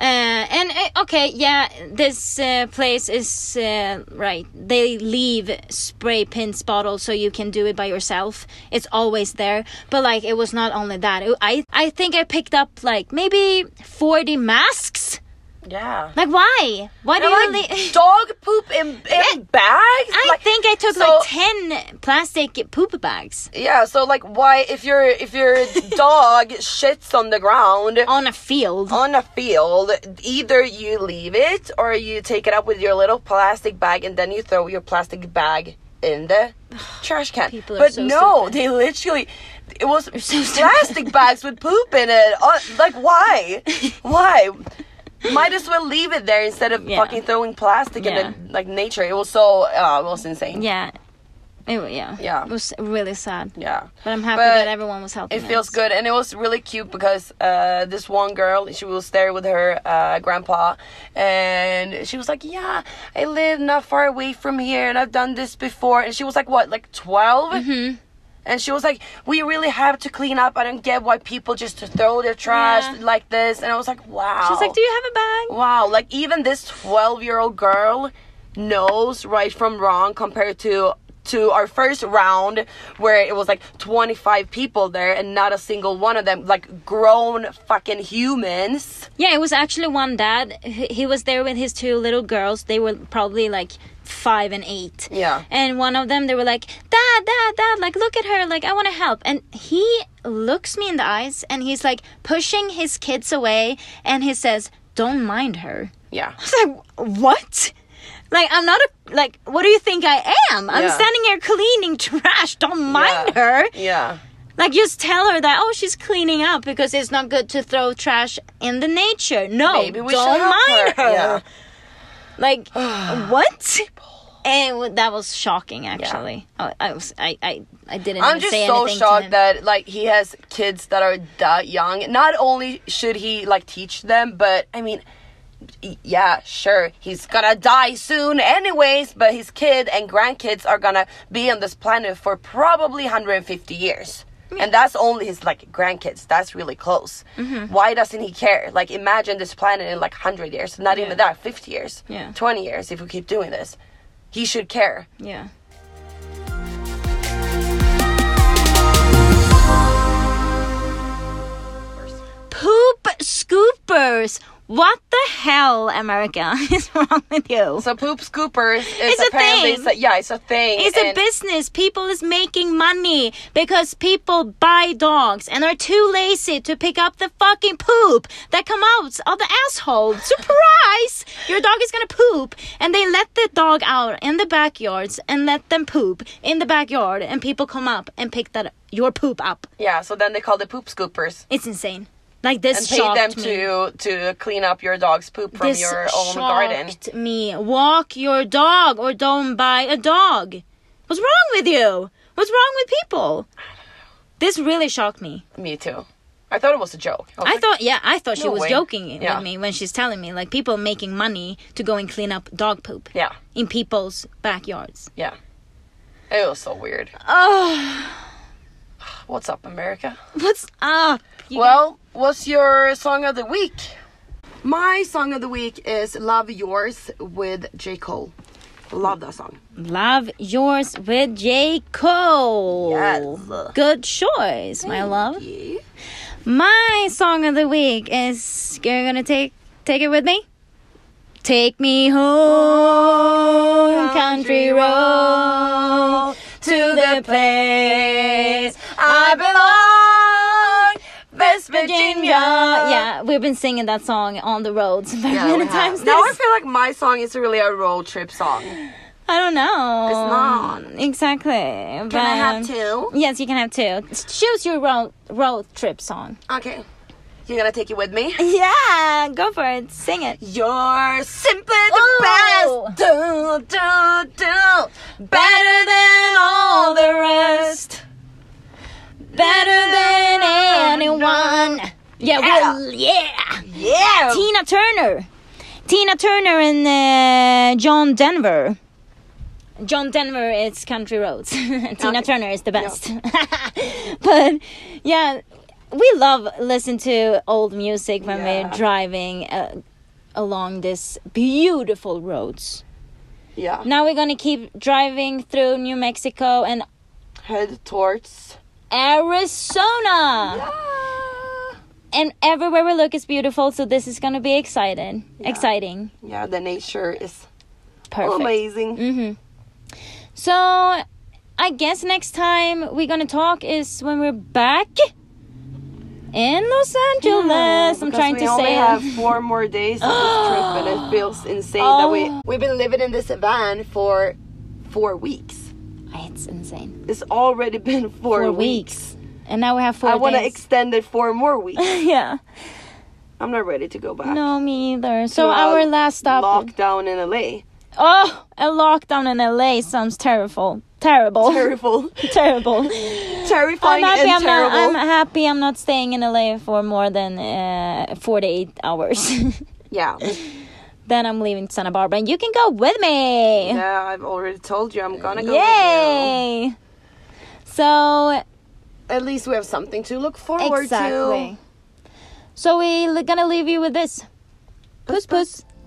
[SPEAKER 1] Uh, and uh, okay, yeah, this uh, place is uh, right. They leave spray paint bottles so you can do it by yourself. It's always there. But like, it was not only that. It- I I think I picked up like maybe forty masks.
[SPEAKER 2] Yeah.
[SPEAKER 1] Like, why? Why do you
[SPEAKER 2] And,
[SPEAKER 1] leave?
[SPEAKER 2] like dog poop in, in bags.
[SPEAKER 1] I
[SPEAKER 2] Like,
[SPEAKER 1] think I took
[SPEAKER 2] so-
[SPEAKER 1] like 10 plastic poop bags
[SPEAKER 2] yeah. So like, why if your if your dog shits on the ground
[SPEAKER 1] on a field.
[SPEAKER 2] on a field, either you leave it or you take it up with your little plastic bag and then you throw your plastic bag in the trash can.
[SPEAKER 1] People are
[SPEAKER 2] but
[SPEAKER 1] so
[SPEAKER 2] no,
[SPEAKER 1] stupid.
[SPEAKER 2] they literally. It was
[SPEAKER 1] so stupid.
[SPEAKER 2] plastic bags with poop in it. Uh, Like why? Why? Might as well leave it there instead of
[SPEAKER 1] Yeah.
[SPEAKER 2] fucking throwing plastic
[SPEAKER 1] Yeah.
[SPEAKER 2] in the, like nature. It was so uh, it was insane.
[SPEAKER 1] Yeah. It, wa- yeah.
[SPEAKER 2] Yeah.
[SPEAKER 1] It was really sad.
[SPEAKER 2] Yeah.
[SPEAKER 1] But I'm happy
[SPEAKER 2] But
[SPEAKER 1] that everyone was helping.
[SPEAKER 2] It feels
[SPEAKER 1] us.
[SPEAKER 2] good, and it was really cute because uh, this one girl, she was there with her uh, grandpa, and she was like, "Yeah, I live not far away from here, and I've done this before." And she was like, "What, like 12
[SPEAKER 1] Mm-hmm.
[SPEAKER 2] And she was like, "We really have to clean up. I don't get why people just throw their trash
[SPEAKER 1] Yeah.
[SPEAKER 2] like this." And I was like, "Wow."
[SPEAKER 1] She's like, Do you have a bag?
[SPEAKER 2] Wow, like even this 12 year old girl knows right from wrong compared to to our first round where it was like 25 people there and not a single one of them like grown fucking humans
[SPEAKER 1] Yeah, it was actually one dad. H- He was there with his two little girls. They were probably like five and eight.
[SPEAKER 2] Yeah.
[SPEAKER 1] And one of them, they were like, Dad, Dad, Dad, like, look at her. Like, I want to help. And he looks me in the eyes and he's like pushing his kids away and he says, Don't mind her.
[SPEAKER 2] yeah
[SPEAKER 1] I was like, what? Like, I'm not a, like, what do you think I am? I'm
[SPEAKER 2] Yeah.
[SPEAKER 1] standing here cleaning trash. Don't mind
[SPEAKER 2] Yeah.
[SPEAKER 1] her.
[SPEAKER 2] yeah
[SPEAKER 1] Like, just tell her that, oh, she's cleaning up because it's not good to throw trash in the nature. No,
[SPEAKER 2] Maybe we
[SPEAKER 1] don't
[SPEAKER 2] should help
[SPEAKER 1] mind
[SPEAKER 2] her.
[SPEAKER 1] her.
[SPEAKER 2] Yeah.
[SPEAKER 1] Like, what? And it wa- that was shocking, actually. Oh, I, I was, I, I, I didn't
[SPEAKER 2] i'm
[SPEAKER 1] even
[SPEAKER 2] just
[SPEAKER 1] say
[SPEAKER 2] so
[SPEAKER 1] anything to
[SPEAKER 2] shocked
[SPEAKER 1] him.
[SPEAKER 2] that like he has kids that are that young not only should he like teach them but i mean y- yeah, sure, he's gonna die soon, anyways. But his kid and grandkids are gonna be on this planet for probably 150 years, and that's only his like grandkids. That's really close.
[SPEAKER 1] Mm-hmm.
[SPEAKER 2] Why doesn't he care? Like, imagine this planet in like 100 years, not even that, 50 years,
[SPEAKER 1] Yeah.
[SPEAKER 2] 20 years. If we keep doing this, he should care.
[SPEAKER 1] Yeah. Poop scoopers. What the hell, America, is wrong with you?
[SPEAKER 2] So poop scoopers is
[SPEAKER 1] It's a
[SPEAKER 2] apparently
[SPEAKER 1] thing.
[SPEAKER 2] so- yeah, it's a thing.
[SPEAKER 1] It's a
[SPEAKER 2] and-
[SPEAKER 1] business. People is making money because people buy dogs and are too lazy to pick up the fucking poop that come out of the asshole. Surprise! Your dog is gonna poop, and they let the dog out in the backyards and let them poop in the backyard, and people come up and pick that your poop up.
[SPEAKER 2] Yeah, so then they call it poop scoopers.
[SPEAKER 1] It's insane. Like this
[SPEAKER 2] And pay
[SPEAKER 1] shocked
[SPEAKER 2] them
[SPEAKER 1] me.
[SPEAKER 2] to to clean up your dog's poop from
[SPEAKER 1] this
[SPEAKER 2] your own garden.
[SPEAKER 1] shocked me. Walk your dog or don't buy a dog. What's wrong with you? What's wrong with people? This really shocked me.
[SPEAKER 2] Me too. I thought it was a joke. I was
[SPEAKER 1] I
[SPEAKER 2] like,
[SPEAKER 1] thought, yeah, I thought she
[SPEAKER 2] No
[SPEAKER 1] was
[SPEAKER 2] way.
[SPEAKER 1] joking
[SPEAKER 2] Yeah.
[SPEAKER 1] with me when she's telling me like people making money to go and clean up dog poop
[SPEAKER 2] yeah,
[SPEAKER 1] in people's backyards.
[SPEAKER 2] yeah. It was so weird.
[SPEAKER 1] Oh,
[SPEAKER 2] What's up, America?
[SPEAKER 1] what's up? You
[SPEAKER 2] well, what's your song of the week? My song of the week is Love Yours with J. Cole. Love that song.
[SPEAKER 1] Love Yours with J. Cole.
[SPEAKER 2] Yes.
[SPEAKER 1] Good choice, my love.
[SPEAKER 2] Yeah.
[SPEAKER 1] My song of the week is you're gonna take take it with me? Take me home, country road, to the place I belong, West Virginia. Yeah, we've been singing that song on the roads very
[SPEAKER 2] Yeah, we
[SPEAKER 1] many
[SPEAKER 2] have.
[SPEAKER 1] times.
[SPEAKER 2] Now I
[SPEAKER 1] this-
[SPEAKER 2] feel like my song is really a road trip song.
[SPEAKER 1] I don't know.
[SPEAKER 2] not.
[SPEAKER 1] exactly. Can
[SPEAKER 2] Um, two?
[SPEAKER 1] Yes, you can have two. Choose your road road trip song.
[SPEAKER 2] Okay. You're gonna take it with me?
[SPEAKER 1] Yeah, go for it. Sing it.
[SPEAKER 2] You're simply the
[SPEAKER 1] Ooh.
[SPEAKER 2] best. Do, do, do. Better than all the rest.
[SPEAKER 1] Better than anyone. Yeah, well, yeah.
[SPEAKER 2] Yeah.
[SPEAKER 1] Tina Turner. Tina Turner and uh, John Denver. John Denver is Country Roads. Tina
[SPEAKER 2] Okay.
[SPEAKER 1] Turner is the best. but yeah, we love listen to old music when
[SPEAKER 2] Yeah.
[SPEAKER 1] we're driving uh, along this beautiful roads.
[SPEAKER 2] yeah.
[SPEAKER 1] Now we're going to keep driving through New Mexico and
[SPEAKER 2] Head towards.
[SPEAKER 1] Arizona. and everywhere we look is beautiful so this is going to be exciting exciting
[SPEAKER 2] Yeah, Oh the nature is
[SPEAKER 1] perfect
[SPEAKER 2] amazing.
[SPEAKER 1] hmm so i guess next time we're going to talk is when we're back in los angeles i'm
[SPEAKER 2] Mm, Because
[SPEAKER 1] trying
[SPEAKER 2] we
[SPEAKER 1] to
[SPEAKER 2] only
[SPEAKER 1] say
[SPEAKER 2] have four more days of this trip, and it feels insane that we
[SPEAKER 1] Oh.
[SPEAKER 2] we've been living in this van for four weeks.
[SPEAKER 1] it's insane
[SPEAKER 2] It's already been four,
[SPEAKER 1] four
[SPEAKER 2] weeks.
[SPEAKER 1] weeks. and now we have four
[SPEAKER 2] I want to
[SPEAKER 1] days.
[SPEAKER 2] extend it four more weeks.
[SPEAKER 1] yeah
[SPEAKER 2] I'm not ready to go back.
[SPEAKER 1] no me either so
[SPEAKER 2] To uh,
[SPEAKER 1] our
[SPEAKER 2] a
[SPEAKER 1] last stop
[SPEAKER 2] Lockdown in LA.
[SPEAKER 1] oh a lockdown in la sounds terrible terrible
[SPEAKER 2] Terrible.
[SPEAKER 1] terrible I'm
[SPEAKER 2] Terrifying
[SPEAKER 1] happy.
[SPEAKER 2] and
[SPEAKER 1] Oh. I'm not,
[SPEAKER 2] terrible.
[SPEAKER 1] I'm happy. I'm not staying in LA for more than uh, 48 hours.
[SPEAKER 2] yeah.
[SPEAKER 1] then I'm leaving to Santa Barbara, and you can go with me.
[SPEAKER 2] Yeah, I've already told you I'm gonna go. with you.
[SPEAKER 1] Yay! So
[SPEAKER 2] At least we have something to look forward to.
[SPEAKER 1] exactly. So we're gonna leave you with this. Puss puss.